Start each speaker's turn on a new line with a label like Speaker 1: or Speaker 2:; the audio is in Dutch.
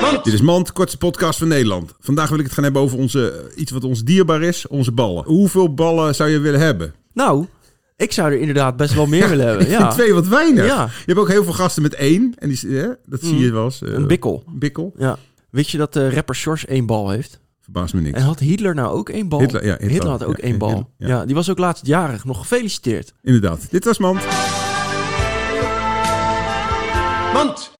Speaker 1: Mand.
Speaker 2: Dit is Mand, kortste podcast van Nederland. Vandaag wil ik het gaan hebben over onze, eh, iets wat ons dierbaar is, onze ballen. Hoeveel ballen zou je willen hebben?
Speaker 1: Nou, ik zou er inderdaad best wel meer willen hebben. Ja.
Speaker 2: Twee wat weinig.
Speaker 1: Ja. Mm.
Speaker 2: Je hebt ook heel veel gasten met één. En die, hè, dat zie je wel eens. eh,
Speaker 1: Een bikkel.
Speaker 2: bikkel.
Speaker 1: Ja. Weet je dat de rapper Sjors één bal heeft?
Speaker 2: Verbaast me niks.
Speaker 1: En had Hitler nou ook één bal?
Speaker 2: Hitler, ja, Hitler.
Speaker 1: had ook
Speaker 2: Ja,
Speaker 1: één bal.
Speaker 2: Hitler, ja.
Speaker 1: ja. die was ook laatst jarig. Nog gefeliciteerd.
Speaker 2: Inderdaad. Dit was Mand.
Speaker 3: Mand.